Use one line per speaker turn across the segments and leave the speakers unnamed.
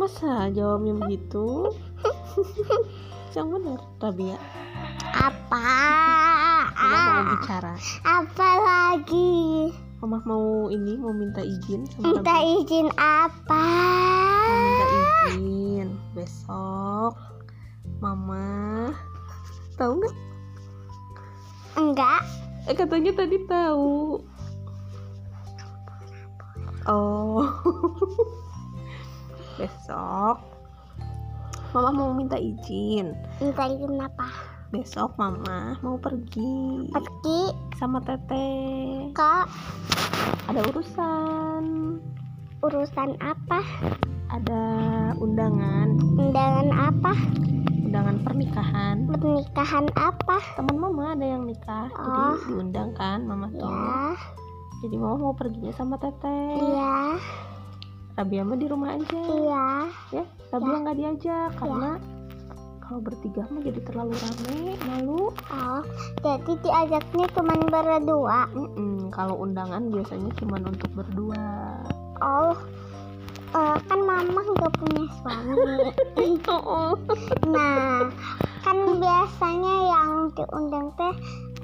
masa jawabnya begitu yang benar Rabia
Apa? Ah.
mama mau bicara
Apa lagi?
mama mau ini mau minta izin sama
Minta
Rabia
izin apa?
mau minta izin besok mama tahu nggak
Enggak.
eh katanya tadi tahu oh besok mama mau minta izin
Minta izin apa?
besok mama mau pergi
Pergi
sama teteh
ke
ada urusan
urusan apa?
ada undangan
Undangan apa?
undangan pernikahan
Pernikahan apa?
teman mama ada yang nikah
Oh.
jadi diundang kan mama tuh
Ya,
jadi mama mau perginya sama teteh
iya,
Rabia mah di rumah aja
iya.
ya Rabia nggak diajak karena kalau bertiga mah jadi terlalu rame malu
Oh, jadi diajaknya cuma berdua.
Mm-mm, kalau undangan biasanya cuma untuk berdua
Oh, eh, kan mama nggak punya suami.
oh,
Nah, kan biasanya yang diundang teh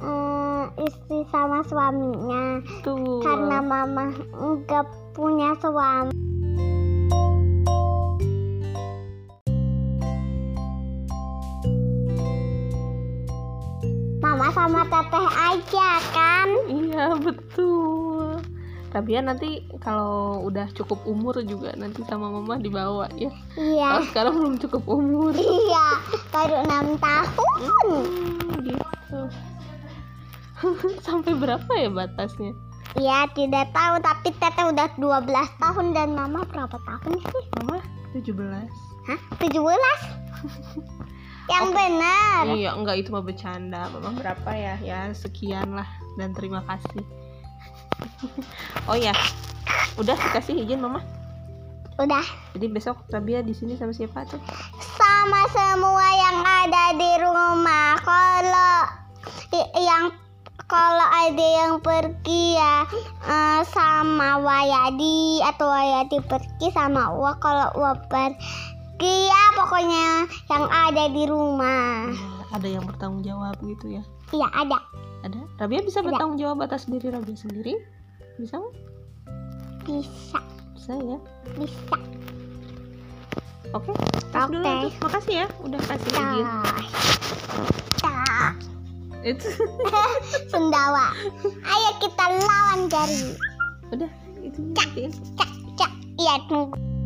eh, istri sama suaminya.
Iya. tuh
Karena mama nggak punya suami. Mama sama teteh aja kan?
Iya betul. Rabia nanti kalau udah cukup umur juga nanti sama mama dibawa ya.
Iya.
Kalau sekarang belum cukup umur.
Iya, baru enam tahun.
Hmm, gitu. Sampai berapa ya batasnya?
Iya, tidak tahu tapi Teteh udah 12 tahun dan Mama berapa tahun sih?
Mama 17.
Hah? 17? Yang benar.
Iya, enggak itu mah bercanda. Mama berapa ya? Ya sekian lah dan terima kasih. oh ya. Udah dikasih izin mama.
Udah
Jadi besok Rabia di sini sama siapa tuh?
sama semua yang ada di rumah. Kalau i- yang kalau ada yang pergi ya eh, sama Wayadi atau Wayadi pergi sama Uwa kalau Uwa pergi ya pokoknya yang ada di
Hmm.
rumah.
Ada yang bertanggung jawab gitu ya.
Iya ada.
Ada? Rabia bisa
Ada.
bertanggung jawab atas diri Rabia sendiri? Bisa nggak?
Bisa,
Bisa ya.
bisa.
Oke. tas dulu
Oke.
tuh. Makasih ya udah kasih izin.
Dah. Dah.
Itu
Sendawa. Ayo kita lawan jari.
udah itu nanti.
Cak, cak. Iya tunggu.